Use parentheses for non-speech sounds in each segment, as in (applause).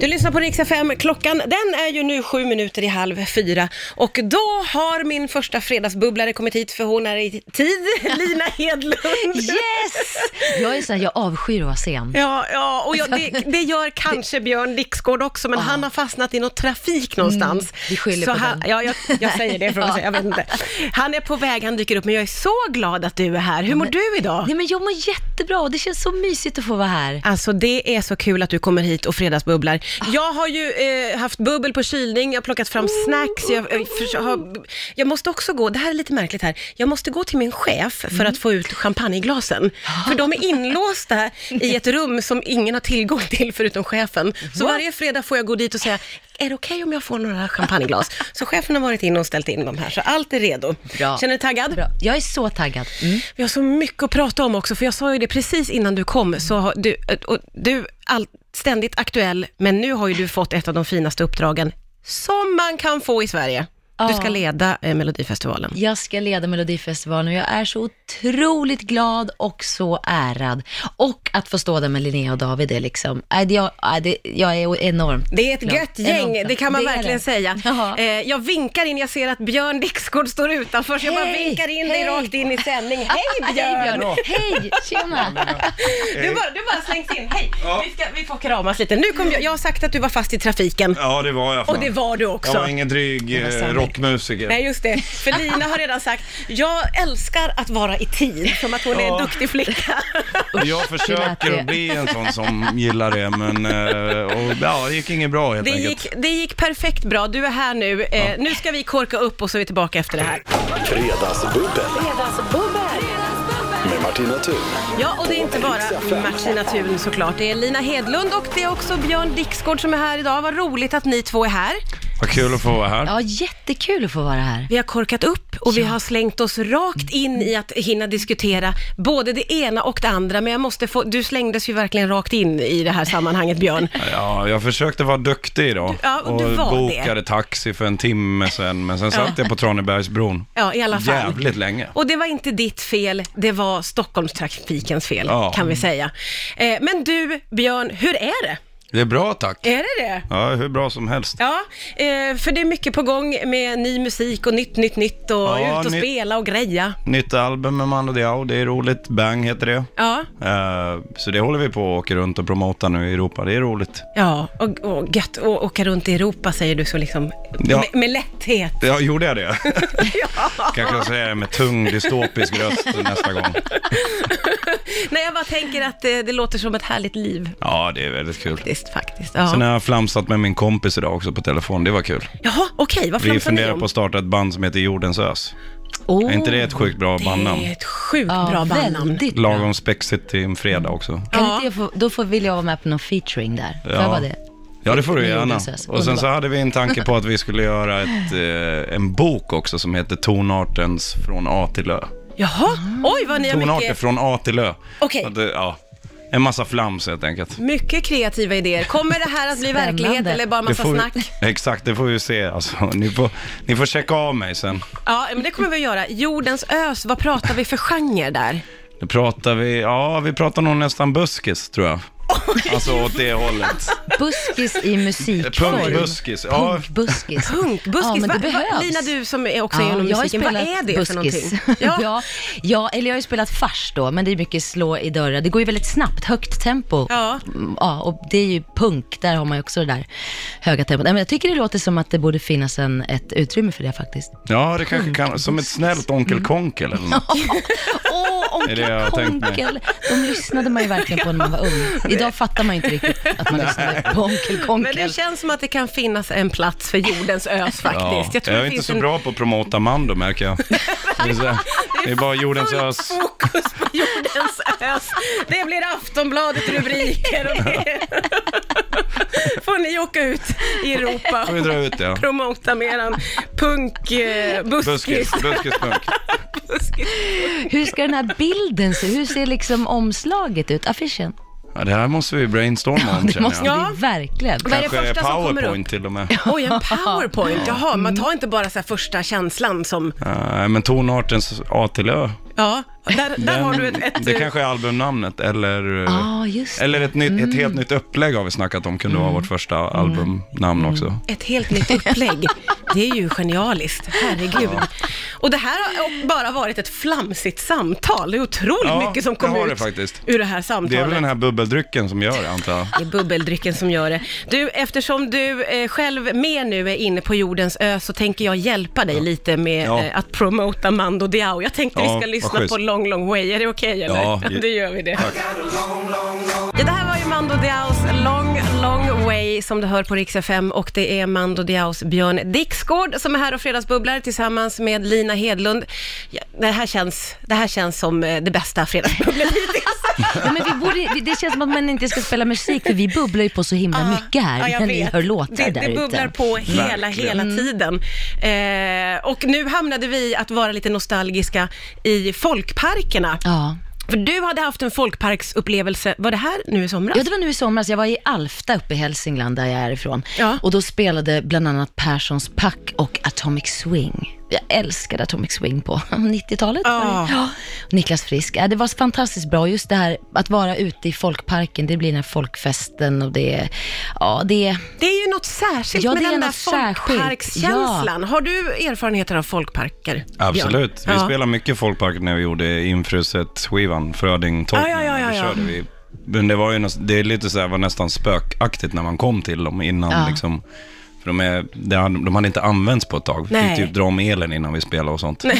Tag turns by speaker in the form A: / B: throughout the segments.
A: Du lyssnar på Riksa 5. Klockan den är ju nu sju minuter i halv fyra och då har min första fredagsbubblare kommit hit för hon är i tid. (laughs) Lina
B: (laughs)
A: Hedlund.
B: Yes! Jag är så här, jag avskyr att vara sen.
A: Ja, ja och jag, det, det gör kanske Björn Dixgård också, men han har fastnat i något trafik någonstans.
B: Mm, vi skyller
A: så
B: på
A: han,
B: den.
A: ja, jag, jag säger det för att
B: (laughs) Ja.
A: säga, jag vet inte. Han är på väg, han dyker upp, men jag är så glad att du är här. Hur mår du idag?
B: Nej men jag mår jättebra och det känns så mysigt att få vara här.
A: Alltså det är så kul att du kommer hit och fredagsbubblar. Jag har ju eh, haft bubbel på kylning, jag har plockat fram snacks, jag, eh, förs- har, jag måste också gå, det här är lite märkligt här, jag måste gå till min chef för
B: Mm.
A: att få ut champagneglasen. För de är inlåsta i ett rum som ingen har tillgång till förutom chefen. Så varje fredag får jag gå dit och säga, är det okej om jag får några champagneglas? Så chefen har varit inne och ställt in dem här, så allt är redo.
B: Bra.
A: Känner du taggad?
B: Bra. Jag är så taggad. Mm.
A: Vi har så mycket att prata om också, för jag sa ju det precis innan du kom, så har du, och du all, ständigt aktuell, men nu har ju du fått ett av de finaste uppdragen som man kan få i Sverige. Du
B: Ja.
A: ska leda eh, Melodifestivalen.
B: Jag ska leda Melodifestivalen och jag är så otroligt glad och så ärad. Och att få stå där med Linnea och David är liksom, nej, det- jag, nej, det- jag är enormt
A: Det är ett
B: glad.
A: gött gäng,
B: Enormt
A: det kan man
B: är
A: verkligen
B: det.
A: säga.
B: Ja.
A: Eh, jag vinkar in, jag ser att Björn Dixgård står utanför, så jag bara
B: Hej,
A: vinkar in dig
B: hej.
A: rakt in i
B: (laughs)
A: sändning. Hej
B: Hej
A: Björn!
B: Björn! Hej! Tjena!
A: Du bara, du bara slängs in, hej!
C: Ja.
A: Vi, ska, vi får kramas lite. Nu kom jag, jag har sagt att du var fast i trafiken,
C: Ja, det var jag. Fan.
A: och det var du också.
C: Jag var ingen dryg
A: var
C: eh,
A: sanning.
C: rockmusiker.
A: Nej, just det. För Lina har redan sagt, jag älskar att vara i tid, som att hon är en
C: Ja.
A: duktig flicka.
C: jag
B: lät det.
C: försöker att bli en sån som gillar det, men eh, och, ja, det gick inget bra helt
A: Det
C: enkelt.
A: gick, det gick perfekt bra, du är här nu. Eh, nu ska vi korka upp och så är vi tillbaka efter det här.
D: Fredagsbubbel. Med Martina Thun.
A: Ja, och det är inte bara Martina Thun såklart. Det är Lina Hedlund och det är också Björn Dixgård som är här idag. Vad roligt att ni två är här.
C: Vad kul att få vara här.
B: Ja, jättekul att få vara här.
A: Vi har korkat upp och vi har slängt oss rakt in i att hinna diskutera både det ena och det andra. Men jag måste få, du slängdes ju verkligen rakt in i det här sammanhanget Björn.
C: Ja, jag försökte vara duktig idag
A: Ja, och
C: och
A: du var
C: bokade taxi för en timme sen, men sen satt jag på Tranebergsbron
A: Ja, i alla fall.
C: jävligt länge.
A: Och det var inte ditt fel, det var Stockholmstrafikens fel,
C: Ja.
A: kan vi säga. Eh, men du, Björn, hur är det?
C: Det är bra tack.
A: Är det det?
C: Ja, hur bra som helst.
A: Ja, eh, för det är mycket på gång med ny musik och nytt, nytt, nytt och
C: Ja,
A: ut och
C: nytt.
A: spela och greja.
C: Nytt album med Mando Diao, det är roligt. Bang heter det.
A: Ja,
C: Eh, så det håller vi på och åker runt och promotar nu i Europa, det är roligt.
A: ja och, och gött att åka runt i Europa säger du så liksom
C: Ja.
A: med, med (laughs) lätthet.
C: Ja, gjorde jag det? Kanske jag säger det med tung dystopisk röst nästa gång.
A: Nej, jag bara tänker att eh, det låter som ett härligt liv
C: Ja, det är väldigt kul.
A: faktiskt. faktiskt.
C: Sen
A: Ja.
C: har jag flamsat med min kompis idag också på telefon, det var kul.
A: Jaha, okej, vad
C: Vi
A: flamsar ni
C: funderar
A: om?
C: på att starta ett band som heter Jordens Ös.
B: Oh.
C: Är inte det ett sjukt bra
A: Det är
C: bandnamn?
A: ett sjukt bra
B: ja,
A: bandnamn.
B: väldigt bra.
C: Lagom spexigt till en fredag också.
B: Kan
A: Ja.
B: inte jag få, då får, vill jag vara med på någon featuring där. Får
C: Ja.
B: jag vara det?
C: Ja, det får du
B: Med
C: gärna.
B: Jordens Ös,
C: Och sen så
B: underbart.
C: hade vi en tanke på att vi skulle göra ett, eh, en bok också som heter Tonartens från A till Ö.
A: Jaha,
B: Mm.
A: oj vad ni har
C: Tonarter
A: mycket,
C: från A till Ö.
A: Okej.
C: Så att det- Ja, en massa flams helt enkelt.
A: mycket kreativa idéer. Kommer det här att bli
B: Spännande.
A: verklighet eller bara
C: Det
A: massa
C: får vi-
A: snack?
C: (laughs) Exakt, det får vi se. Alltså, ni, får, ni får checka av mig sen.
A: Ja, men det kommer vi att göra. Jordens ös, vad pratar vi för genre där?
C: Nu pratar vi, ja vi pratar nog nästan buskis tror jag. Alltså åt det hållet.
B: Buskis i musikform.
C: Punkbuskis, ja.
B: Punkbuskis.
A: Punkbuskis,
B: Ja, men det
A: vad- vad-
B: behövs.
A: Lina du som är också
B: Ja,
A: inom
B: jag har
A: musiken, vad
B: spelat
A: är det för
B: buskis. (laughs)
A: någonting?
B: Ja.
A: Ja.
B: Ja, eller jag har ju spelat fars då, men det är mycket slå i dörrar. Det går ju väldigt snabbt, högt tempo.
A: Ja.
B: Mm, ja och det är ju punk, där har man ju också det där höga tempot. Nej, men jag tycker det låter som att det borde finnas en, ett utrymme för det faktiskt.
C: Ja, det kanske kan, som ett snällt onkel Konkel eller något.
B: Åh,
C: Är det jag har
B: Onkel
C: tänkt mig.
B: Konkel! De lyssnade man ju verkligen på när man var
A: (laughs)
B: ung. Idag fattar man ju inte riktigt att man lyssnade på Onkel
A: Men det
B: Konkel.
A: känns som att det kan finnas en plats för jordens ös
C: Ja.
A: faktiskt.
C: Jag,
A: tror
C: är
A: det
C: inte
A: finns
C: så
A: en-
C: bra på att promota Mando
A: (laughs)
C: märker jag. Det är, så här, det är bara jordens ös.
A: Fokus på jordens ös. Det blir Aftonbladet-rubriker och
C: (laughs)
A: det får ni åka ut i Europa
C: Får vi dra ut det? ja.
A: och promota med eran punk, eh, buskis.
C: Buskis, buskispunk.
A: buskis.
B: Hur ska den här bilden se Hur ser liksom omslaget ut? Affischen?
C: Ja, det här måste vi brainstorma om
B: Det
C: känner
B: måste
C: jag.
A: Ja.
B: vi verkligen.
A: Vad är det
C: Kanske
A: första som kommer upp?
C: powerpoint till och med.
A: Oj, en powerpoint. Jaha,
C: Mm.
A: man tar inte bara så här första känslan som...
C: Nej, men tonartens A till Ö.
A: Ja, Där, där
C: Den-
A: har du ett... ett Ah.
C: det kanske är albumnamnet eller, eh,
B: Ja, just det.
C: eller ett, nytt, ett
A: Mm.
C: helt nytt upplägg har vi snackat om, kunde vara vårt första albumnamn
A: Mm.
C: också.
A: ett helt nytt upplägg. Det är ju genialiskt, herregud. Och det här har bara varit ett flamsigt samtal. Det är otroligt
C: Ja,
A: mycket som
C: det
A: kom
C: har
A: ut
C: det faktiskt.
A: ur det här samtalet.
C: Det är väl den här bubbeldrycken som gör det, antar jag.
A: Det är bubbeldrycken som gör det. Du, eftersom du eh, själv mer nu är inne på jordens ö så tänker jag hjälpa dig lite med
C: Ja.
A: eh, att promota Mando Diao. Jag tänkte
C: Ja,
A: vi ska
C: vad
A: lyssna
C: schysst.
A: på Long Long Way. Är det okej eller? (laughs)
C: Ja,
A: Ja,
C: ge-
A: det gör vi det. Ja, det här var ju Mando Diaos Long Long Way som du hör på Rix FM och det är Mando Diaos Björn Dixgård som är här och fredagsbubblar tillsammans med Lina Hedlund. Ja, det, här känns, det här känns som eh, det bästa
C: (laughs)
A: fredagsbubblet hittills.
B: Ja, men vi borde, vi- det känns som att man inte ska spela musik för vi bubblar ju på så himla mycket här
A: Ja, jag
B: när ni
A: vet.
B: hör låtar
A: det,
B: där
A: Det bubblar
B: ute. Mm.
A: på hela,
C: Verkligen.
A: hela tiden. Eh, och nu hamnade vi att vara lite nostalgiska i folkparkerna.
B: Ja.
A: För du hade haft en folkparksupplevelse, var det här nu i somras?
B: ja, det var nu i somras. Jag var i Alfta uppe i Hälsingland där jag är ifrån.
A: Ja.
B: Och då spelade bland annat Perssons Pack och Atomic Swing. Jag älskade Atomic Swing på (laughs) 90-talet.
A: Ja.
B: Ja. Niklas Frisk. Ja, det var fantastiskt bra. Just det här att vara ute i folkparken. Det blir den här folkfesten och det är... Ja, det är...
A: Det är ju något särskilt
B: Ja,
A: med
B: det är
A: den där
B: något särskilt.
A: folkparkskänslan. Har du erfarenheter av folkparker?
C: Absolut. Vi
A: Ja.
C: spelade mycket folkpark när vi gjorde Infruset-skivan, Frödingtolkningen.
A: Ja, ja, ja, ja,
C: Det
A: ja.
C: körde vi. Men det var ju näst, det är lite så här, var nästan spökaktigt när man kom till dem innan
B: Ja.
C: liksom. För de, är, de, hade, de hade inte använts på ett tag. Vi
A: Nej.
C: fick typ dra om elen innan vi spelade och sånt.
A: (laughs)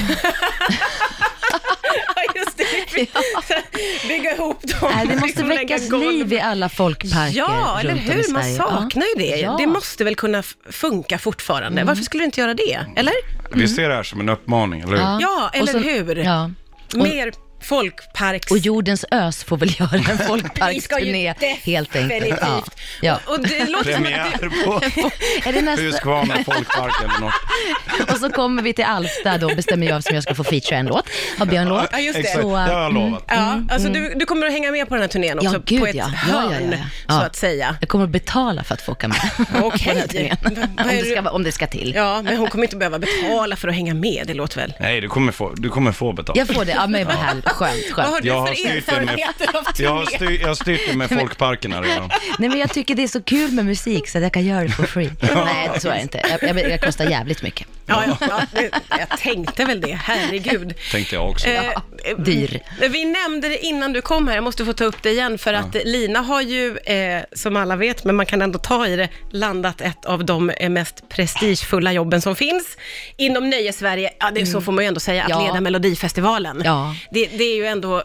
A: Ja, just det. Bygga ihop dem.
B: (laughs) Nej, det måste
A: Liksom lägga
B: väckas
A: golv.
B: liv i alla folkparker
A: Ja,
B: runt
A: eller
B: om i
A: hur? Man
B: Sverige.
A: saknar ju det.
B: Ja. Mm.
A: Det måste väl kunna f- funka fortfarande. Varför skulle du inte göra det? Eller?
C: Vi ser det här som en uppmaning, eller hur?
A: Ja, eller
B: Och sen-
A: hur?
B: Ja.
A: Mer folkparks...
B: Och jordens ös får väl
A: (laughs)
B: göra en
A: Vi ska ju
B: folkparksturné helt enkelt.
A: definitivt.
B: Ja. Ja.
A: Och det låter som att (laughs)
C: Premiär på
B: (laughs) Är det nästa?
C: Huskvarna folkpark eller något.
B: Och så kommer vi till Alfta, då bestämmer jag som jag ska få featura en låt. Har Björn låt?
A: Ja, just det.
C: Exakt, det har jag lovat.
A: Ja, alltså du, du kommer att hänga med på den här turnén också,
B: Mm, Ja, gud
A: på ett
B: ja. Ja, ja,
A: hörn,
B: ja, ja.
A: så
B: Ja.
A: att säga.
B: Jag kommer att betala för att få åka med
A: (laughs)
B: på
A: Okej.
B: den här turnén.
A: Vad är
B: om, det
A: du-
B: ska, vara- om det ska till.
A: Ja, men hon kommer inte behöva betala för att hänga med, det låter väl.
C: Nej, du kommer få, du kommer få betalt.
B: Jag får det, ja men
A: (laughs)
B: vad härligt, skönt,
A: Vad
B: skönt.
A: har du
C: Jag har
A: för
C: styrt den med-
A: erfarenheter av
C: Jag har,
A: turné?
C: styr, jag har styrt
A: (laughs)
C: det med folkparkerna redan.
B: Nej men jag tycker det är så kul med musik så att jag kan göra det for free. Nej, så är det inte. Jag, jag, jag kostar jävligt mycket.
A: Ja, ja, ja, det- jag tänkte väl det, herregud.
C: Tänkte jag också.
A: Eh, eh,
B: dyr.
A: Vi nämnde det innan du kom här, jag måste få ta upp det igen, för att Lina har ju, eh, som alla vet, men man kan ändå ta i det, landat ett av de eh, mest prestigefulla jobben som finns inom Nöjesverige. Ja, det, så får man ju ändå säga, att
B: Ja.
A: leda Melodifestivalen.
B: Ja.
A: Det, det är ju ändå,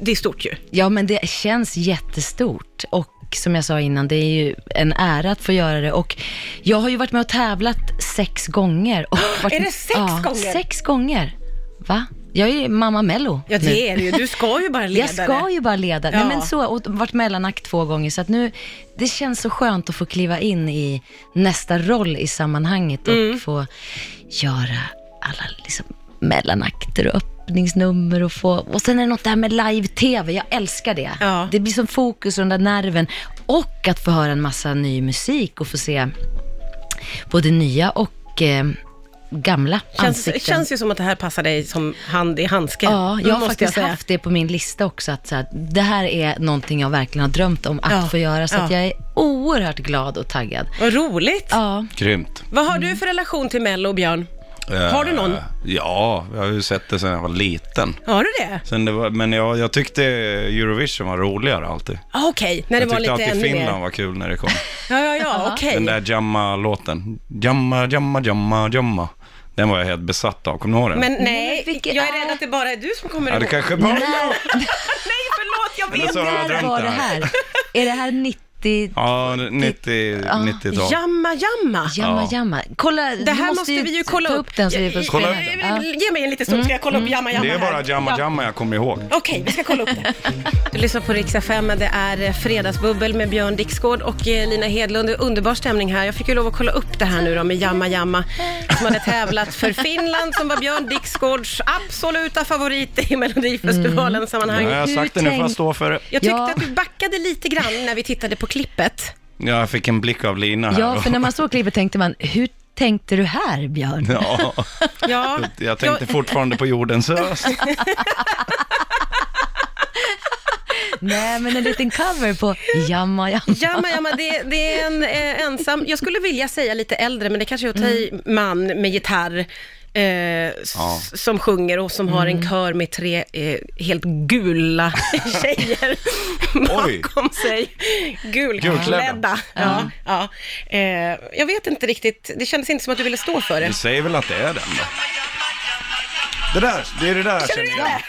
A: det är stort ju.
B: Ja, men det känns jättestort. Och som jag sa innan, det är ju en ära att få göra det. Och jag har ju varit med och tävlat sex gånger. Och
A: (gasps)
B: varit...
A: Är det sex
B: ja,
A: gånger?
B: sex gånger. Va? Jag är ju mamma Mello
A: Ja,
B: nu.
A: det är det ju. Du ska ju bara leda
B: (laughs) Jag ska
A: det.
B: ju bara leda.
A: Ja.
B: Nej, men så, och varit mellanakt två gånger, så att nu, det känns så skönt att få kliva in i nästa roll i sammanhanget och
A: Mm.
B: få göra alla liksom, mellanakter och öppningsnummer och få, och sen är det något där med live-tv, jag älskar det.
A: Ja.
B: Det blir som fokus och den där nerven och att få höra en massa ny musik och få se både nya och eh, gamla
A: Känns,
B: ansikten.
A: det känns ju som att det här passar dig som hand i handske.
B: Ja, jag har
A: måste
B: faktiskt
A: säga.
B: haft det på min lista också, att så här, det här är någonting jag verkligen har drömt om att
A: Ja,
B: få göra, så att
A: ja.
B: jag är oerhört glad och taggad.
A: Vad roligt.
B: Ja,
C: Grymt.
A: Vad har du för relation till Mello, Björn? Har du någon?
C: Eh, Ja, jag har ju sett det sedan jag var liten.
A: Har du det?
C: Sen det var, men jag, jag tyckte Eurovision var roligare alltid.
A: Ah, Okej, när det
C: Jag
A: var
C: tyckte
A: lite
C: alltid
A: ännu
C: Finland
A: mer.
C: var kul när
A: (laughs)
C: det kom.
A: Ja, ja, ja, okej.
C: Den där Jamma-låten. Jamma, Jamma, Jamma, Jamma. Den var jag helt besatt av. Kommer du ihåg den?
A: Men
B: men
A: nej,
B: vilket-
A: jag är rädd att det bara är du som kommer
C: ja, det
A: ihåg.
C: kanske
A: (laughs)
C: bara...
A: Nej, förlåt, jag
C: Eller
A: vet
C: så har jag
B: när
A: inte.
C: drömt
B: var
C: det
B: det
C: här.
B: här? Är det här 90...
C: (laughs) Ja, 90, 90-tal.
A: Jamma, jamma.
B: Jamma,
C: Ja.
B: jamma. Kolla,
A: Det här måste vi ju kolla
B: ta
A: upp.
B: upp den så vi får
C: Kolla
B: spela
C: upp Mm.
B: den.
A: Eh,
B: Ja.
A: Ge mig en liten stund, ska jag kolla upp jamma, jamma
C: Det är
A: här?
C: bara Jamma,
A: Ja.
C: Jamma jag kommer ihåg.
A: Okej, vi ska kolla upp det. Du lyssnar på Rix FM, det är eh, Fredagsbubbel med Björn Dixgård och eh, Lina Hedlund. Det är Underbar stämning här. Jag fick ju lov att kolla upp det här nu då med Jamma Jamma som hade tävlat för Finland som var Björn Dixgårds absoluta favorit i Melodifestivalen
B: Mm.
A: sammanhang.
C: Jag har
B: hur
C: sagt det nu, får jag
B: tänk-
C: stå för det.
A: Jag tyckte
B: Ja.
A: att du backade lite grann när vi tittade på klippet.
C: Ja, Jag fick en blick av Lina här.
B: ja,
C: och-
B: för när man såg klippet tänkte man, hur tänkte du här, Björn?
C: (laughs) Ja,
A: Ja,
C: jag tänkte fortfarande
A: (laughs)
C: på jordens höst.
B: Nej, men en liten cover
A: (laughs)
B: på Jamma Jamma.
A: Jamma, jamma, det, det är en eh, ensam, jag skulle vilja säga lite äldre, men det kanske är att ta i, man med gitarr. Eh, s-
C: Ja.
A: som sjunger och som har en kör med tre eh, helt gula tjejer
C: Oj.
A: bakom sig. Gulklädda.
C: Gulklädda.
A: Ja, ja. Eh, jag vet inte riktigt, det kändes inte som att du ville stå för det.
C: Du säger väl att det är den då? Det där, det är det där känner jag. Det,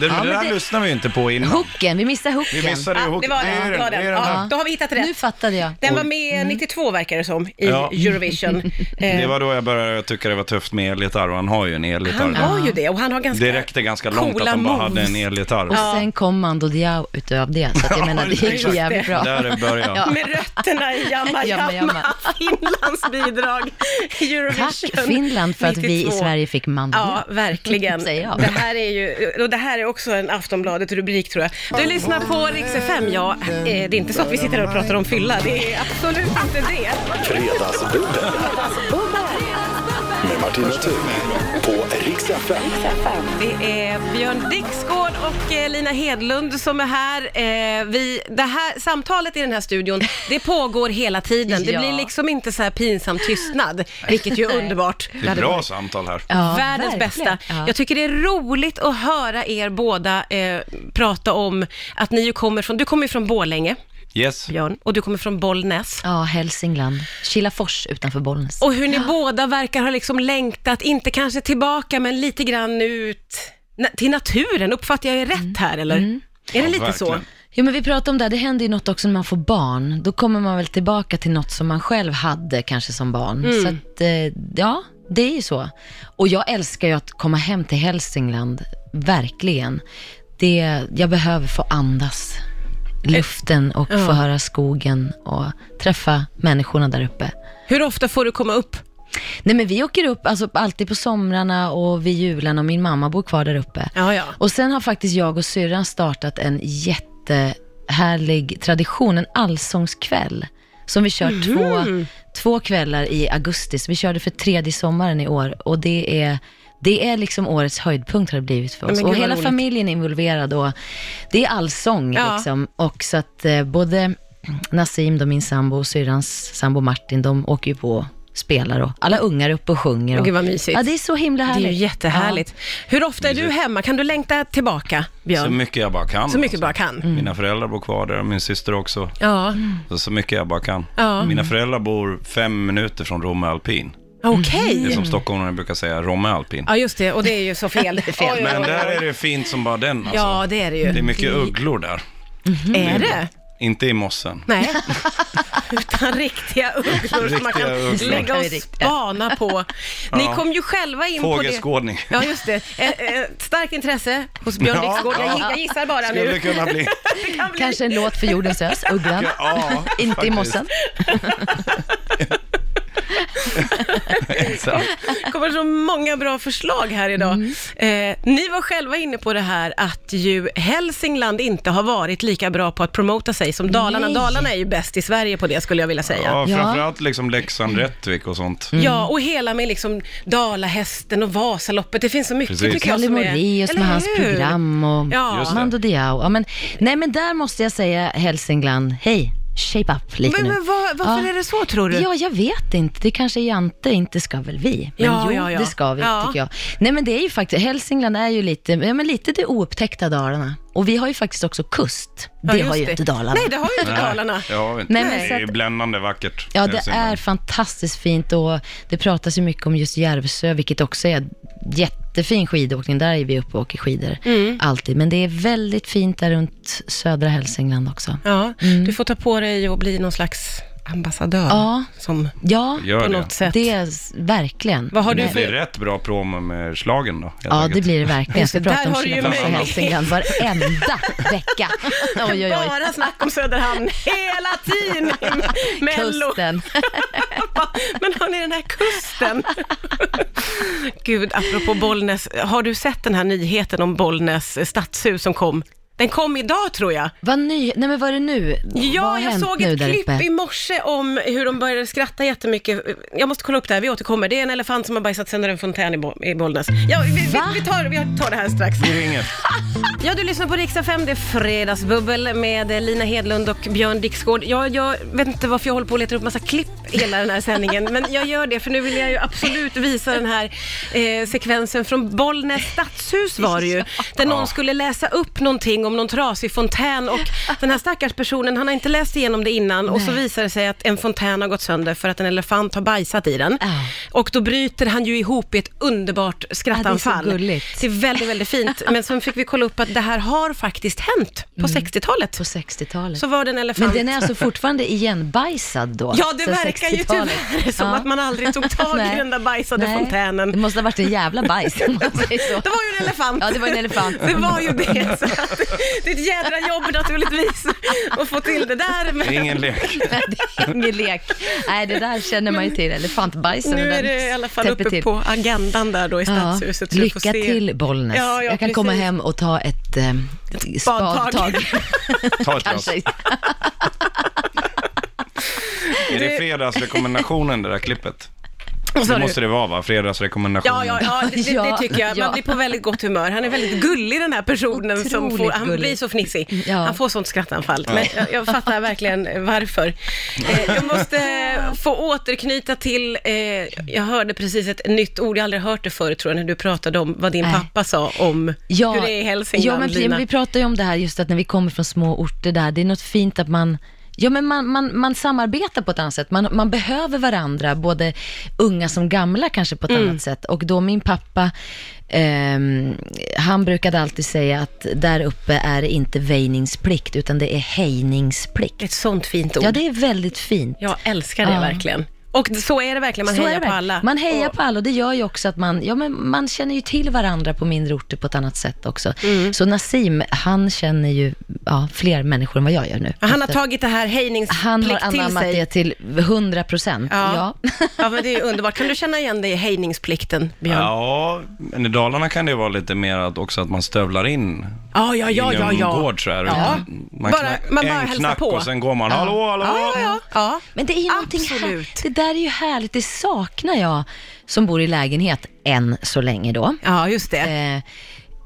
B: Ja,
C: det
B: men
C: där
B: det-
C: lyssnar vi ju inte på innan.
B: Hooken, vi missade hooken.
C: Vi missade
A: Ah,
C: ju
A: det
C: hooken.
A: var
C: Det är
A: den,
C: ju
A: det var den.
C: det är den
A: Ja,
C: här.
A: då har vi hittat
B: Nu
A: rätt.
B: fattade jag.
A: Den var med 92 verkar det som, i
C: Ja.
A: Eurovision. Eh,
C: Det var då jag började tycka det var tufft med elgitarr och han har ju en
A: han
C: elgitarr.
A: har ju det och han har ganska
C: Det räckte ganska långt att
A: coola
C: han bara hade
A: moves.
C: en elgitarr.
B: Och sen kom Mando Diao utöver det, så att jag menar, det gick ju
A: exakt.
B: jävligt bra.
C: Där började jag.
A: Med rötterna i Jamma
B: (laughs)
A: Jamma,
B: Jamma, jamma.
A: Finlands bidrag i Eurovision.
B: Tack Finland för att vi i
A: 92.
B: Sverige fick Mando Diao.
A: Ja, verkligen.
B: Säger jag.
A: Det här är ju, och det här är också en Aftonbladet-rubrik tror jag. Du lyssnar på Rix FM, ja. eh, Det är inte så att vi sitter här och pratar om fylla, det är absolut inte det.
D: Fredagsbubbel med Martina Thun på Rix FM.
A: Det är Björn Dixgård och eh, Lina Hedlund som är här. Eh, Vi, det här. Samtalet i den här studion, det pågår hela tiden. Det
B: Ja.
A: blir liksom inte så här pinsam tystnad, vilket ju är
B: Nej.
A: underbart.
C: Det är bra samtal här.
B: Ja,
A: Världens
B: verkligen.
A: bästa.
B: Ja.
A: Jag tycker det är roligt att höra er båda eh, prata om att ni ju kommer från, du kommer ju från Borlänge,
C: Yes.
A: Björn, och du kommer från Bollnäs.
B: Ja, Hälsingland. Kilafors utanför Bollnäs.
A: Och hur ni båda verkar ha liksom längtat, inte kanske tillbaka, men lite grann ut na- till naturen. Uppfattar jag er rätt här, eller? Är det
C: Ja,
A: lite så?
C: verkligen.
B: Jo, men vi pratade om det, här. det händer ju något också när man får barn. Då kommer man väl tillbaka till något som man själv hade kanske som barn. Så att, eh, ja, det är ju så. Och jag älskar ju att komma hem till Hälsingland, verkligen. Det, jag behöver få andas luften och få höra skogen och träffa människorna där uppe.
A: Hur ofta får du komma upp?
B: Nej men vi åker upp alltså, alltid på somrarna och vid julen och min mamma bor kvar där uppe.
A: Ja, ja.
B: Och sen har faktiskt jag och syrran startat en jättehärlig tradition, en allsångskväll. Som vi kör
A: Mhm.
B: två, två kvällar i augusti, så vi körde för tredje sommaren i år. Och det är, det är liksom årets höjdpunkt har det blivit för
A: men
B: oss.
A: gud,
B: och
A: vad
B: hela
A: roligt.
B: familjen är involverad och det är allsång
A: Ja.
B: liksom. Och så att eh, både Nassim, då min sambo, och syrrans sambo Martin, de åker ju på och spelar och alla ungar är uppe och sjunger. Och,
A: Gud, vad mysigt.
B: Ja, det är så himla
A: Det
B: härligt.
A: är ju jättehärligt. Hur ofta är du hemma? Kan du längta tillbaka, Björn?
C: Så mycket jag bara kan. alltså.
A: Så mycket bara kan. Mm.
C: Mina föräldrar bor kvar där och min syster också.
A: Ja,
C: Så, så mycket jag bara kan.
A: Ja.
C: Mina föräldrar bor fem minuter från Romme Alpin.
A: okej.
C: Mm. Det är som stockholmarna brukar säga, Romme Alpin.
A: Ja, just det. Och det är ju så fel.
B: är fel.
A: Oj, oj, oj.
C: Men där är det fint som bara den alltså.
A: Ja, det är det ju.
C: Det är mycket ugglor där.
A: Är det?
C: Inte i mossen.
A: Nej. Utan riktiga ugglor som man kan
C: Riktiga ugglor.
A: lägga och spana på. Ni
C: Ja.
A: kom ju själva in på det.
C: Fågelskådning.
A: Ja, just det. Ett, ett starkt intresse hos Björn
C: Ja,
A: Dixgård. Jag
C: ja.
A: gi- Jag gissar bara
C: Skulle
A: nu.
C: det kunna bli.
A: (laughs) Det kan bli-
B: Kanske en låt för
A: (laughs)
B: jordens ös, Ugglan.
C: Ja,
B: Inte i
C: faktiskt.
B: mossen.
C: Exakt.
A: Det kommer så många bra förslag här idag.
B: Mm.
A: Eh, ni var själva inne på det här att ju Hälsingland inte har varit lika bra på att promota sig som Dalarna.
B: Nej.
A: Dalarna är ju bäst i Sverige på det skulle jag vilja säga.
C: Ja,
B: Ja.
C: framförallt liksom Leksand, Rättvik och sånt.
B: Mm.
A: Ja, och hela med liksom Dalahästen och Vasaloppet. Det finns så mycket
C: Precis.
A: tycker jag
B: Kalle
A: som är...
B: Moraeus med
A: Eller
B: hans
A: hur?
B: program och
A: Ja.
C: Just det.
B: Mando Diao. Ja, men, nej men där måste jag säga Hälsingland, hej, shape up lite
A: Men,
B: nu.
A: men vad, varför
B: Ja.
A: är det så tror du?
B: Ja, jag vet inte. Det kanske är Jante, inte ska väl vi? Men
A: Ja,
B: jo,
A: ja, ja.
B: det ska vi,
A: Ja.
B: tycker jag. Nej, men det är ju faktiskt, Hälsingland är ju lite, ja, men lite det oupptäckta Dalarna. Och vi har ju faktiskt också kust.
A: Ja,
B: det
A: just
B: har ju inte Dalarna.
A: Nej, det har ju inte Dalarna.
C: Nej, ja, inte.
B: Nej, men
C: det
B: så
C: är ju
B: att-
C: bländande vackert.
B: Ja, det
C: Hälsingland.
B: är fantastiskt fint och det pratas ju mycket om just Järvsö, vilket också är jättefin skidåkning. Där är vi uppe och åker skidor
A: Mm.
B: alltid. Men det är väldigt fint där runt södra Hälsingland också.
A: Ja, du får ta på dig och bli någon slags ambassadör.
B: Mm. Ja.
A: Som
B: Ja,
C: Gör
A: på
C: det.
A: något sätt.
B: det är s- verkligen.
A: Vad har du
C: Det
A: för...
C: blir rätt bra promo med slagen då. helt
B: Ja,
C: enkelt.
B: det blir det verkligen. Jag ska
A: Just det,
B: prata
A: där
B: om
A: har du ju
B: Kilafors och
A: möjlighet.
B: Hälsingland varenda
A: (laughs)
B: vecka. Oj, oj, oj.
A: Bara snack om
B: (laughs)
A: Söderhamn hela tiden. i Mello.
B: Kusten.
A: (laughs) Men har ni den här
B: (laughs)
A: kusten? Gud, apropå Bollnäs, har du sett den här nyheten om Bollnäs stadshus som kom? Den kom idag tror jag.
B: Vad ny... Nej men vad är det nu? vad
A: Ja,
B: har
A: jag
B: hänt
A: såg
B: nu
A: ett
B: där
A: klipp
B: uppe?
A: i morse om hur de började skratta jättemycket. Jag måste kolla upp det här, vi återkommer. Det är en elefant som har bajsat sönder en fontän i, Bo- i Bollnäs. Ja, vi, vi,
B: Va?
A: vi, tar, vi tar det här strax.
C: Vi ringer.
A: Ja, du lyssnar på Riksdag 5. Det är Fredagsbubbel med Lina Hedlund och Björn Dixgård. Ja, jag vet inte varför jag håller på att leta upp massa klipp hela den här sändningen, men jag gör det för nu vill jag ju absolut visa den här eh, sekvensen från Bollnäs stadshus var
B: (laughs)
A: det ju, där någon skulle läsa upp någonting om någon trasig fontän och den här stackars personen, han har inte läst igenom det innan och så
B: Nej.
A: visar det sig att en fontän har gått sönder för att en elefant har bajsat i den.
B: Ja.
A: Och då bryter han ju ihop i ett underbart skrattanfall.
B: gulligt.
A: Det är väldigt, väldigt fint. Men sen fick vi kolla upp att det här har faktiskt hänt på 60-talet.
B: Mm. På 60-talet.
A: Så var det en elefant.
B: Men den är
A: (laughs)
B: alltså fortfarande igenbajsad då?
A: Ja, det
B: sen
A: verkar ju
B: 60-talet.
A: tyvärr som att man aldrig tog tag i
B: (laughs) Nej.
A: den där bajsade
B: Nej.
A: fontänen.
B: Det måste ha varit en jävla bajs om man säger
A: (laughs)
B: så.
A: Det
B: (laughs)
A: var ju en elefant.
B: Ja, det var en elefant.
A: Det var ju det. Så att, det är ett jädra jobb naturligtvis att få till det där.
C: Det är
A: Men
C: ingen lek.
B: Men det är ingen lek. Nej, det där känner man ju till. Elefantbajsen.
A: nu
B: den
A: är det i alla fall
B: täpper
A: uppe
B: till.
A: på agendan där då i
B: Ja,
A: stadshuset. så du
B: lycka
A: får se.
B: till Bollnäs.
A: Ja, ja,
B: jag kan
A: precis.
B: komma hem och ta ett, eh, ett
A: Spadtag. (laughs)
B: spadtag.
C: Ta ett glas.
B: Kanske.
C: Är det fredagsrekommendationen, det där klippet?
A: (laughs) Vad sa
C: Det
A: du?
C: måste det vara, va? Fredagsrekommendationen.
A: Ja, ja, ja, det, det, det
B: Ja,
A: tycker jag. Man
B: ja.
A: blir på väldigt gott humör. Han är väldigt gullig den här personen. som
B: Otroligt
A: får, han
B: gullig.
A: blir så fnissig.
B: Ja.
A: Han får sånt skrattanfall. Men jag, jag fattar verkligen varför. Eh, jag måste eh, få återknyta till, eh, jag hörde precis ett nytt ord, jag har aldrig hört det förut tror jag, när du pratade om vad din
B: Nej.
A: pappa sa om
B: Ja,
A: hur det är i Hälsingland,
B: ja, men precis,
A: Lina.
B: men vi pratar ju om det här just att när vi kommer från små orter där, det är något fint att man Ja, men man, man, man samarbetar på ett annat sätt. Man, man behöver varandra, både unga som gamla kanske på ett
A: Mm.
B: annat sätt. Och då min pappa, ehm, han brukade alltid säga att där uppe är det inte väjningsplikt, utan det är hejningsplikt.
A: Ett sånt fint ord.
B: Ja, det är väldigt fint.
A: Jag älskar det
B: Ja.
A: verkligen. Och så är det verkligen, man
B: Så är
A: hejar
B: det
A: på
B: verkligen.
A: alla.
B: Man hejar
A: Och-
B: på alla och det gör ju också att man, ja, men man känner ju till varandra på mindre orter på ett annat sätt också.
A: Mm.
B: Så Nassim, han känner ju ja, fler människor än vad jag gör nu.
A: Han har
B: Efter-
A: tagit det här
B: han har
A: hejningsplikt till
B: anammat
A: sig.
B: det till 100 procent.
A: Ja.
B: Ja.
A: (laughs) ja, men det är ju underbart. Kan du känna igen dig i hejningsplikten, Björn? Ja,
C: Ja, men i Dalarna kan det vara lite mer att också att man stövlar in
A: ja, ja, ja. ja,
C: inom
A: ja.
C: gård så här.
A: Ja.
C: Man,
A: Bara-
C: knack,
A: man bara
C: en
A: hälsar
C: knack
A: på.
C: och sen går man, hallå, hallå.
A: Ja, ja, ja. ja.
B: (laughs) Men det är ju någonting här,
A: Absolut.
B: det där är ju härligt, det saknar jag som bor i lägenhet än så länge då.
A: Ja, just det.
B: Eh,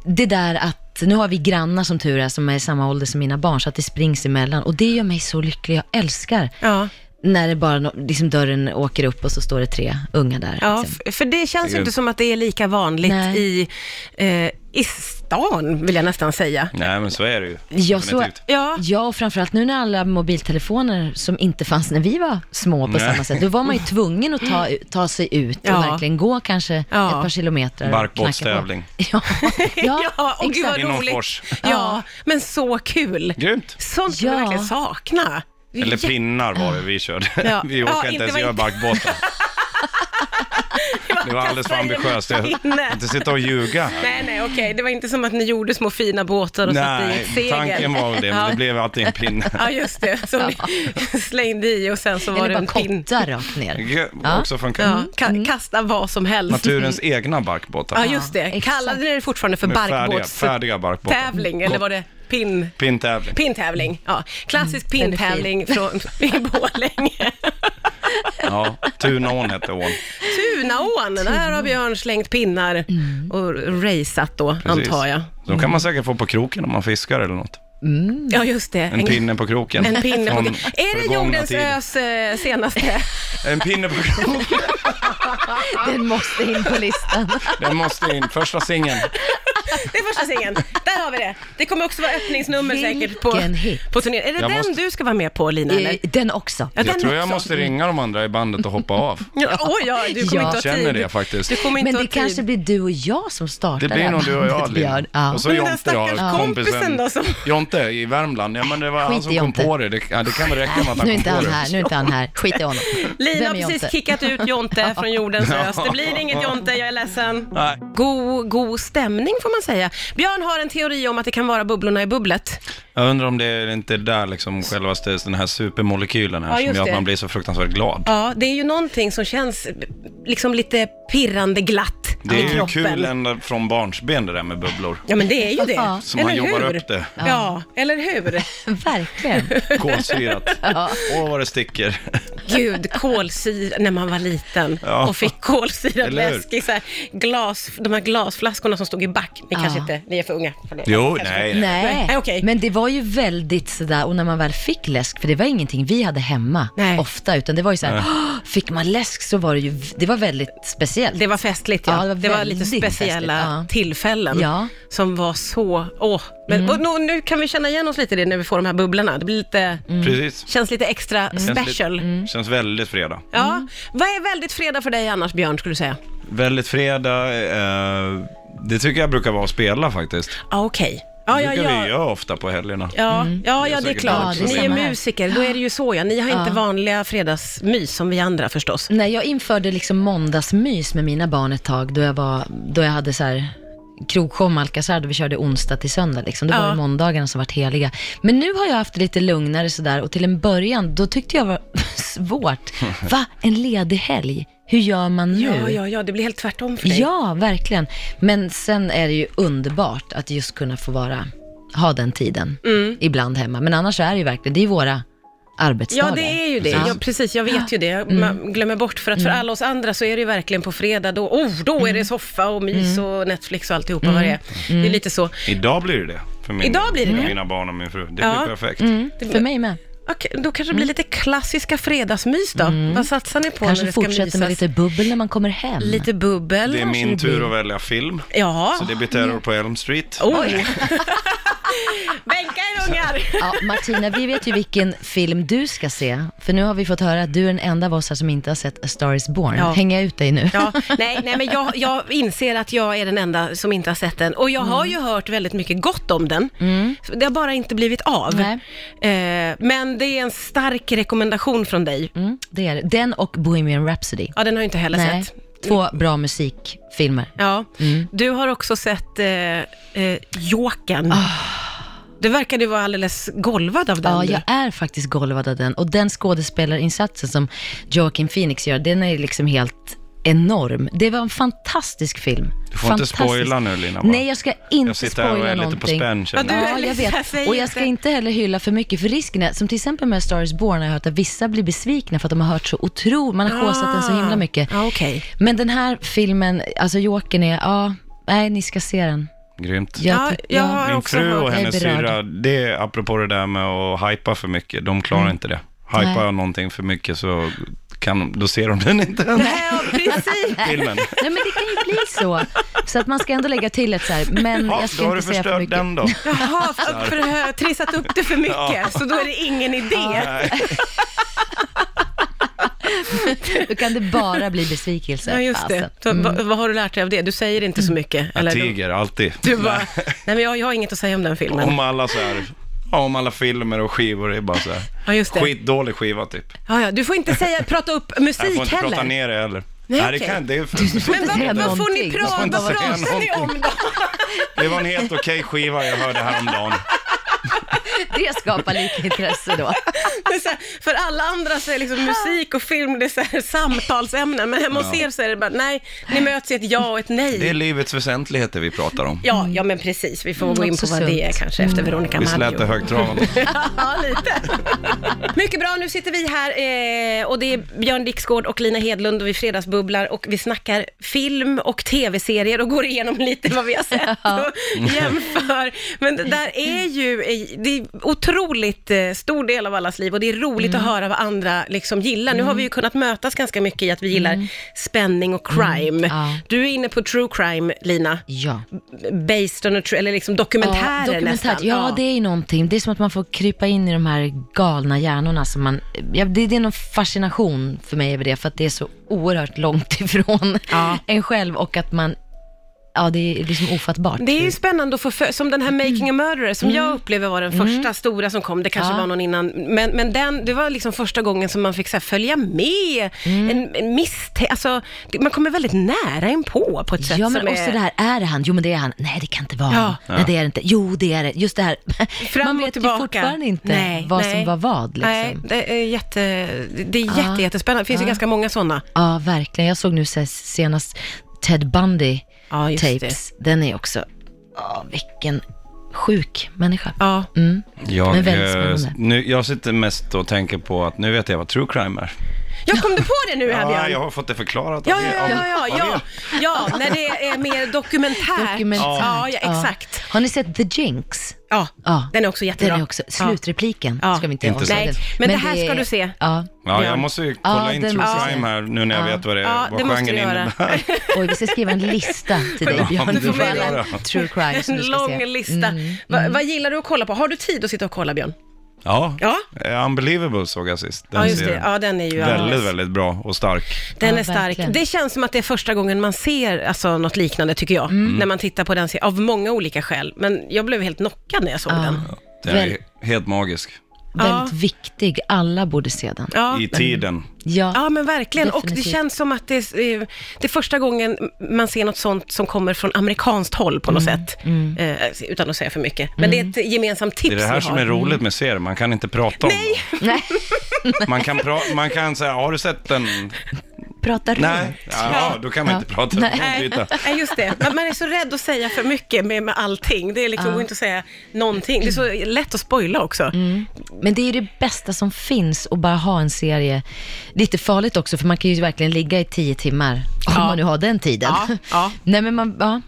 B: det där att, nu har vi grannar som tur är som är i samma ålder som mina barn, så att det springs emellan och det gör mig så lycklig, jag älskar
A: Ja,
B: När det bara, nå- liksom dörren åker upp och så står det tre unga där.
A: ja
B: liksom.
A: f- för det känns ju inte som att det är lika vanligt
B: Nej.
A: i, eh, i stan, vill jag nästan säga.
C: Nej, men så är det ju.
B: Ja, så,
C: Definitivt.
A: Ja,
B: ja, och framförallt nu när alla mobiltelefoner som inte fanns när vi var små på
C: Nej.
B: samma sätt, då var man ju tvungen att ta, ta sig ut
A: Ja.
B: och verkligen gå kanske
A: Ja.
B: ett par kilometer. och
C: Barkbåtstävling.
B: knacka på. (laughs) Ja,
A: (laughs) ja och gud vad
B: exakt.
C: Inom
A: roligt.
C: Fors.
A: Ja, men så kul.
C: Grymt.
A: Sånt kan man
B: Ja.
A: verkligen sakna. Det är
C: Eller
A: jätte-
C: pinnar var det vi körde.
A: Ja.
C: (laughs) Vi
A: Ja,
C: orkade
A: inte
C: inte ens
A: var
C: göra
A: inte-
C: barkbåtar. Det var alldeles för
A: Kasta in
C: ambitiöst. Jag
A: pinne.
C: inte sitta och ljuga.
A: (laughs) Nej, nej, okej. Det var inte som att ni gjorde små fina båtar och satte i ett
C: Nej,
A: segel.
C: tanken var väl det, men
A: Ja.
C: det blev alltid en pinne.
A: Ja, just det. Som ni (laughs) slängde i och sen så var
B: Eller
A: det
B: bara Mm.
A: en pinn.
B: kottar rakt ner.
C: Det också funkar.
A: Ja, ka- kasta vad som helst.
C: Naturens egna barkbåtar.
A: Ja, just det.
B: exakt.
A: Kallade ni det fortfarande för
C: De är färdiga-
A: barkbåtstävling?
C: Färdiga barkbåtar.
A: Eller var det pin?
C: Pintävling.
A: Pintävling, ja. Klassisk
B: Mm, den är
A: pintävling från
B: (laughs)
A: i Borlänge.
C: Ja, Tunaån
A: (laughs)
C: hette ån.
A: Tunaån, där har Björn slängt pinnar
B: Mm.
A: och raceat då,
C: Precis.
A: antar jag. Mm.
C: De kan man säkert få på kroken om man fiskar eller något.
B: Mm.
A: Ja, just det.
C: En pinne på kroken.
A: En pinne på...
C: Från
A: Är det
C: förgångna
A: jordens
C: tider.
A: ös eh, senaste?
C: En pinne på
A: (laughs)
C: kroken.
B: Den måste in på listan.
C: Den måste in. Första singeln.
A: Det är första singeln. Där har vi det. Det kommer också vara öppningsnummer säkert på,
B: Vilken hit.
A: på turnén. Är det
C: Jag
A: den
C: måste-
A: du ska vara med på, Lina? Eller?
B: Eh, Den också.
A: Ja,
C: Jag
A: den
C: tror jag
A: också.
C: måste ringa de andra i bandet och hoppa av.
A: Ja, Oj, ja, du kommer
B: Ja.
A: inte ha tid.
C: Känner det faktiskt.
A: Du kommer inte
B: Men
A: ha
B: det
A: tid.
B: kanske blir du och jag som startar
C: Det
B: det
C: blir
B: här
C: nog du och jag,
B: bandet,
C: Linn.
B: Björn. Ja.
C: Och så
A: Men den där
C: Jonte jag
A: stackars
C: har,
A: kompisen då som-
C: Jonte i Värmland. Ja, men det var han
B: Skit i
C: som kom
B: Jonte.
C: på det. Det, ja, det kan väl räcka med att han
B: Nu är
C: kom
B: inte
C: på
B: han
C: det.
B: här, nu är inte
A: (laughs)
B: han här. Skit i honom.
A: Lina har
B: Vem är
A: precis
B: Jonte?
A: kickat ut (laughs) Jonte från jordens ös. Det blir inget Jonte, jag är ledsen.
C: Nej.
A: God, god stämning får man säga. Björn har en teori om att det kan vara bubblorna i bubblet.
C: Jag undrar om det är inte där liksom självaste den här supermolekylen här
A: Ja,
C: som
A: just
C: gör
A: det.
C: att man blir så fruktansvärt glad.
A: Ja, det är ju någonting som känns eh, liksom lite pirrande glatt.
C: Det
A: i
C: är ju
A: kroppen.
C: kul ända från barnsben det där med bubblor.
A: Ja, men det är ju det.
B: Ja.
C: Så man jobbar
A: hur?
C: upp det.
A: Ja. eller hur? (laughs)
B: Verkligen.
C: Kolsyrat. Åh, vad det sticker.
A: Gud, kolsyra när man var liten
C: Ja.
A: och fick kolsyrad
C: Eller hur?
A: läsk i så här glas, de här glasflaskorna som stod i back. Ni
B: Ja.
A: kanske inte, ni är för unga för det.
C: (laughs) Jo,
A: Kanske.
C: nej.
B: Nej,
A: Nej, okej.
B: men det var ju väldigt sådär, och när man väl fick läsk, för det var ingenting vi hade hemma
A: Nej.
B: ofta, utan det var ju såhär, "Åh, fick man läsk så var det ju, det var väldigt speciellt.
A: Det var festligt, ja.
B: Ja, det
A: det,
B: var
A: var lite
B: väldigt
A: speciella
B: festligt, ja.
A: tillfällen
B: Ja. Mm.
A: som var så... Åh. Men, och nu, nu kan vi känna igen oss lite i det när vi får de här bubblorna. Det blir lite,
B: Mm.
C: Precis.
A: känns lite extra
C: Känns
A: special.
C: lite- Känns väldigt fredag.
A: Ja.
B: Mm.
A: Vad är väldigt fredag för dig annars, Björn, skulle du säga?
C: Väldigt fredag. Eh, det tycker jag brukar vara att spela faktiskt.
A: Ah, Okej. Ja,
C: Det
A: ja,
C: brukar
A: ja.
C: vi göra ofta på helgerna.
A: Ja, ja,
C: Det är
A: ja, det är
C: säkert
A: klart.
B: också. Ja, det är
A: ni är
B: samma här.
A: musiker, då är det ju så ja. Ni har inte vanliga fredagsmys som vi andra förstås.
B: Nej, jag införde liksom måndagsmys med mina barn ett tag, då jag, var, då jag hade så här krogshow med Alcazar, då vi körde onsdag till söndag. Liksom. Då
A: Ja.
B: var det måndagarna som vart heliga. Men nu har jag haft det lite lugnare sådär, och till en början, då tyckte jag var (laughs) svårt. Va, en ledig helg? Hur gör man nu?
A: Ja, ja, ja, det blir helt tvärtom för dig.
B: Ja, verkligen. Men sen är det ju underbart att just kunna få vara, ha den tiden ibland hemma. Men annars är det ju verkligen, det är ju våra arbetsdagar.
A: Ja, Mm. det är ju det. Ja, precis, jag vet ju det.
B: Mm.
A: Man glömmer bort, för att för alla oss andra så är det ju verkligen på fredag då, oh, då
B: Mm.
A: är det soffa och mys och Netflix och alltihopa vad det är. Det är lite så.
C: Idag blir det det. För min,
A: Idag blir det
C: för
A: det.
C: mina barn och min fru. Det blir
A: Ja.
C: perfekt.
B: För mig med.
A: Okej, då kanske det blir lite klassiska fredagsmys då. Vad satsar ni på
B: Mm. Kanske
A: när det ska
B: fortsätter med
A: mysas?
B: lite bubbel när man kommer hem.
A: lite bubbel.
C: Det är min tur att välja film.
A: Ja.
C: Så det blir Terror på Elm Street.
A: Oj. (laughs) Bänka er ungar!
B: Ja, Martina, vi vet ju vilken film du ska se. För nu har vi fått höra att du är den enda av oss här som inte har sett A Star Is Born.
A: Ja.
B: Hänger jag ut dig nu?
A: Ja, nej, nej, men jag, jag inser att jag är den enda som inte har sett den. Och jag har
B: Mm.
A: ju hört väldigt mycket gott om den. Så Det har bara inte blivit av.
B: Nej.
A: Eh, men det är en stark rekommendation från dig.
B: Mm, det är det. Den och Bohemian Rhapsody.
A: Ja, den har jag inte heller
B: Nej, Mm.
A: sett.
B: två bra musikfilmer.
A: Ja. Du har också sett eh, eh, Jokern.
B: Ah.
A: Du verkade ju vara alldeles golvad av den.
B: Ja,
A: du.
B: jag är faktiskt golvad av den. Och den skådespelarinsatsen som Joaquin Phoenix gör, den är liksom helt enorm. Det var en fantastisk film.
C: Du får inte
B: Fantastisk.
C: spoila nu, Lina, bara.
B: Nej, jag ska inte
C: Jag sitter här och
B: spoila
C: är lite på
B: någonting.
C: spänn.
A: Ja,
C: känner
A: du
C: jag.
B: Ja,
A: är
B: jag
A: liksom-
B: vet.
A: säg
B: Och jag ska inte heller hylla för mycket, för risken är, som till exempel med A Star is Born har jag hört att vissa blir besvikna för att de har hört så otroligt, man har kåsat den så himla mycket.
A: Ah. Ja, okej.
B: Men den här filmen, alltså Jokern är, ja, nej, ni ska se den.
C: Grymt.
B: Jag
A: Ja,
B: tyck-
A: jag har
C: Min
A: också
C: fru
A: hört-
C: och
B: jag är
C: hennes
B: berörd.
C: syrra, det, apropå det där med att hypa för mycket, de klarar inte det.
B: Mm. Nej.
C: Hypar jag någonting för mycket så kan de, då ser de den inte ens,
A: Nej, ja, precis.
C: filmen.
B: Nej men det kan ju bli så. Så att man ska ändå lägga till ett så här, men
C: Ja,
B: jag
C: då
B: ska
C: har
B: inte
C: du
B: säga för
C: förstört
B: mycket. (laughs)
C: den då.
A: Jaha, för, för, för, trissat upp det för mycket, så då är det ingen idé.
B: Då kan det bara bli besvikelse.
A: Ja, just det.
B: Fasen. Mm.
A: Så, vad, vad har du lärt dig av det? Du säger inte så mycket.
C: Jag
A: Eller?
C: tiger alltid.
A: Du, du bara, nej men jag, jag har inget att säga om den filmen.
C: Om alla så här, ja, om alla filmer och skivor, det är bara så här,
A: Ja, just det.
C: skitdålig skiva typ.
A: Ja, ja, du får inte säga, prata upp
C: Jag
A: musik
C: får inte prata
A: heller.
C: ner det heller.
A: Nej,
C: Nej, det,
A: okej.
B: (laughs)
C: kan, det, är för,
A: Men
B: inte säga
A: vad, vad får ni
B: någonting.
A: prata,
C: Man får
A: vad
C: inte säga
A: pratar ni om då?
C: det var en helt okej skiva jag hörde häromdagen.
B: Det skapar lite intresse då.
A: (laughs) Det är så här, För alla andra så är liksom musik och film det är så här, samtalsämnen, men hemma hos er så är det bara, nej, ni möts i ett ja och ett
C: Det
B: (laughs)
C: är
A: nej.
C: livets väsentligheter vi pratar om.
A: Ja, ja men precis, vi får gå
B: Mm,
A: in på
B: också
A: vad det är
B: sunt. Mm.
A: kanske efter Veronica
C: Visst lät det
A: Maggio.
C: högtravande?
A: Ja, lite. Mycket bra, nu sitter vi här eh, och det är Björn Dixgård och Lina Hedlund och vi fredagsbubblar och vi snackar film och tv-serier och går igenom lite vad vi har sett och jämför. Men det där är ju, eh, det är otroligt eh, stor del av allas liv och det är roligt att höra vad andra liksom gillar. Nu har vi ju kunnat mötas ganska mycket i att vi gillar spänning och crime.
B: Ja.
A: Du är inne på true crime, Lina.
B: Ja.
A: Based on a true, eller liksom dokumentärer nästan.
B: Ja,
A: Ja.
B: det är ju någonting. Det är som att man får krypa in i de här galna hjärnorna. Som man, ja, det, det är någon fascination för mig över det, för att det är så oerhört långt (laughs) ifrån en själv och att man, ja det är liksom ofattbart.
A: Det är ju spännande att få fö- som den här
B: Mm.
A: Making a Murderer, som jag upplever var den första stora som kom, det kanske
B: Ja.
A: var någon innan, men, men den, det var liksom första gången som man fick så här, följa med,
B: Mm.
A: en, en misstänk, alltså, det- man kommer väldigt nära in på på ett sätt
B: Ja, men
A: som
B: och
A: är...
B: sådär, är det han? Jo, men det är han. Nej, det kan inte vara
A: Ja.
B: han. Nej, det är det inte. Jo, det är det. Just det här. (laughs)
A: Fram
B: Man
A: och
B: vet
A: tillbaka.
B: ju fortfarande inte
A: Nej,
B: vad
A: nej.
B: som var vad. Liksom.
A: Nej, det är, jätte, det är
B: Ja.
A: jätte, jättespännande. Det finns ju
B: Ja.
A: ganska många sådana.
B: Ja, verkligen. Jag såg nu se- senast Ted Bundy
A: Ja, just det.
B: tapes, den är också, åh, vilken sjuk människa.
A: Ja,
B: Mm.
C: Jag,
B: Men väldigt
C: eh,
B: spännande.
C: nu, jag sitter mest och tänker på att nu vet jag vad true crime är.
A: jag kom du på det nu här
C: Ja,
A: Björn?
C: jag har fått det förklarat av
A: Ja,
C: er-
A: ja,
C: av-
A: ja, ja,
C: av er.
A: ja, ja, när det är mer dokumentärt.
B: Dokumentärt.
A: Ja, ja, exakt.
B: Har ni sett The Jinx?
A: Ja,
B: Ja.
A: den är också
B: Den
A: jättebra.
B: är också,
A: Ja.
B: slutrepliken
A: Ja.
B: ska vi inte
C: Inte
B: avslöja
A: sett.
B: den.
A: Nej, men det här ska
B: är-
A: du se.
B: Ja.
C: Ja,
A: Björn.
C: jag måste ju
B: Ja,
C: kolla in
B: den
C: true
B: måste
C: crime
B: jag.
C: här nu när jag
B: Ja.
C: vet vad, det,
A: Ja,
C: vad
A: det måste
C: genren
A: du göra. (laughs)
C: innebär.
B: Oj, vi ska skriva en lista till dig
C: Ja,
B: Björn.
C: du
B: Du
C: får
B: får
C: göra.
B: alla true crime som
A: En (laughs)
B: du ska
A: lång
B: se. Mm.
A: lista. Va, vad gillar du att kolla på? Har du tid att sitta och kolla Björn?
C: Ja.
A: Ja.
C: Eh, Unbelievable såg jag sist. Den
A: Ja, just det.
C: serien.
A: Ja, den är ju...
C: Väldigt, väldigt bra och stark.
A: Den
B: Ja,
A: är stark.
B: verkligen.
A: Det känns som att det är första gången man ser alltså, något liknande, tycker jag.
B: Mm.
A: När man tittar på den serien, av många olika skäl. Men jag blev helt knockad när jag såg
B: Ja.
A: den.
C: Den är
B: Väl-
C: helt magisk.
B: Väldigt
A: Ja.
B: viktig, alla borde se den.
A: Ja.
C: I tiden.
B: Ja,
A: Ja, men verkligen. Och det
B: Definitivt.
A: känns som att det är, eh, det är första gången man ser något sånt som kommer från amerikanskt håll på något
B: Mm.
A: sätt. Eh, utan att säga för mycket. Men det är ett gemensamt tips
C: Det är det här
A: vi
C: som
A: har.
C: är roligt med serier, man kan inte prata om Nej.
B: (laughs) Nej,
C: Man kan, pra- man kan säga, har du sett den?
B: prata runt. (laughs)
C: Nej, ja, då kan man inte prata.
B: Nej.
C: Man kan
A: Nej,
C: byta.
A: nej, just det. Man, man är så rädd att säga för mycket med, med allting. Det är liksom, går inte att säga någonting. Det är så lätt att spoila också.
B: Men det är ju det bästa som finns att bara ha en serie. Lite farligt också, för man kan ju verkligen ligga i tio timmar, om man nu har den tiden.
A: Ja, ja.
B: (laughs) Nej, men, man, ja.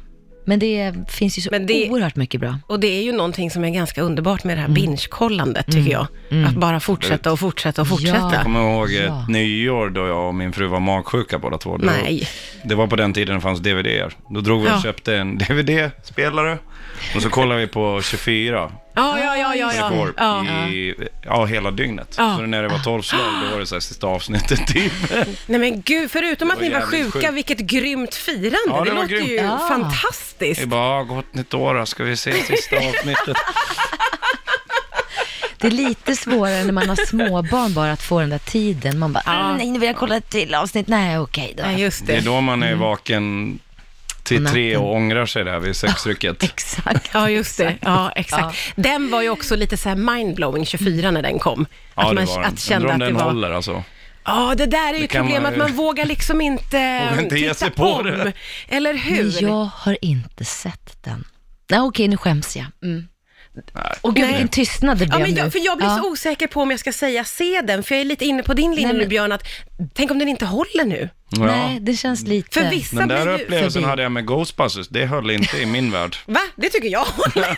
B: men det finns ju så
A: Men det-
B: oerhört mycket bra.
A: Och det är ju någonting som är ganska underbart med det här binge-kollandet, tycker jag. Att bara fortsätta och fortsätta och
B: Ja.
A: fortsätta.
C: Jag kommer ihåg ett
B: Ja.
C: nyår då jag och min fru var magsjuka båda två. Då-
A: Nej.
C: Det var på den tiden det fanns DVD-er. Då drog vi och
A: Ja.
C: köpte en DVD-spelare och så kollade vi på 24
A: Ja, ja, ja, ja.
C: ja.
A: ja. ja.
C: i ja, hela dygnet.
A: Ja.
C: Så när det var 12 slag, då var det så här sista
A: (laughs)
C: avsnittet typ.
A: Nej men gud, förutom att
C: var
A: ni var
C: jävligt
A: sjuka,
C: sjukt.
A: vilket grymt firande.
C: Ja,
A: det
C: det var
A: låter
C: grymt.
A: ju
B: Ja.
A: fantastiskt.
C: Vi bara, "Ah, gott nytt år då, ska vi se
A: (laughs)
C: sista avsnittet.
B: Det är lite svårare när man har småbarn bara att få den där tiden. Man bara, "Ah, nej nu vill jag kolla ett till avsnitt. Nej, okej då.
A: Nej, just
C: Det är
A: det. Mm.
C: då man är vaken till
B: På
C: tre
B: natten.
C: och ångrar sig där vid
B: (laughs)
C: sexrycket.
B: Exakt.
A: Ja, just det. Ja, exakt. Den var ju också lite så här mindblowing, 24, när den kom.
C: Ja, det
A: man
C: var den.
A: att
C: Undrar
A: känna
C: om
A: att det
C: den
A: var...
C: håller alltså.
A: Ja, det där är ju
C: Det
A: ett
C: kan
A: problem,
C: man
A: att
C: ju-
A: man vågar liksom inte,
C: (laughs) Vågar inte ge
A: titta
C: sig på
A: om.
C: det.
A: Eller
B: Men
A: hur?
B: jag har inte sett den. Nej, okej, nu skäms jag. Mm. Och gud,
A: Nej.
B: vilken tystnad det
A: Ja,
B: blev
A: men
B: nu.
A: jag, för jag blir
B: Ja.
A: så osäker på om jag ska säga se den, för jag är lite inne på din linje
B: Nej, men-
A: nu Björn, att tänk om den inte håller nu?
C: Ja.
B: Nej, det känns lite...
A: För vissa
C: Den där
A: blir ju...
C: upplevelsen
B: förbi.
C: hade jag med Ghostbusters, det höll inte i min värld.
A: Va? Det tycker jag
C: (laughs)
A: håller. (laughs)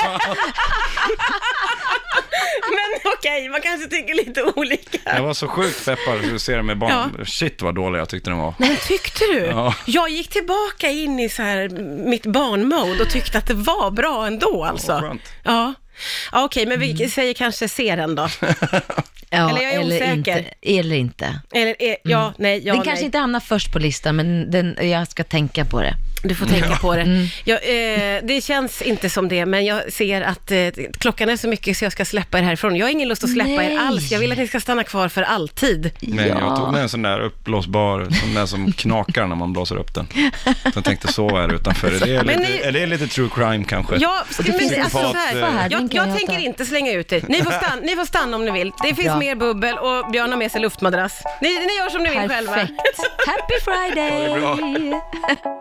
A: Men okej, man kanske tycker lite olika.
C: Jag var så sjukt peppad för att se den med barn. Shit vad dålig jag tyckte den var.
A: Men tyckte du?
C: Ja.
A: Jag gick tillbaka in i så här mitt barnmode och tyckte att det var bra ändå alltså.
C: vad skönt.
A: Ja. Ja, okej, men
B: Mm.
A: vi säger kanske se den då.
B: Ja,
A: Eller jag är osäker.
B: Inte, eller inte.
A: Eller, eh, ja, nej, ja,
B: den
A: nej.
B: kanske inte hamnar först på listan, men den, jag ska tänka på det.
A: Du får tänka på det. Jag, eh, det känns inte som det, men jag ser att eh, klockan är så mycket så jag ska släppa er härifrån. Jag har ingen lust att släppa
B: Nej.
A: er alls. Jag vill att ni ska stanna kvar för alltid.
C: Men
B: ja.
C: jag tog med en sån där uppblåsbar, sån där som knakar när man blåser upp den. Så jag tänkte sova här utanför. Är det,
A: Men
C: lite,
A: ni-
C: är det lite true crime kanske?
A: Ja, ska
B: det finns
A: vi,
B: en
A: alltså, så
C: fat,
A: här,
C: eh, Fan,
B: den
A: jag,
B: kan
A: jag
B: jag
A: tänker
B: ta.
A: inte slänga ut er. Ni får stanna, ni får stanna om ni vill. Det finns
B: Bra.
A: mer bubbel och Björn har med sig luftmadrass. Ni, ni gör som ni vill själva.
B: Perfekt. Happy Friday!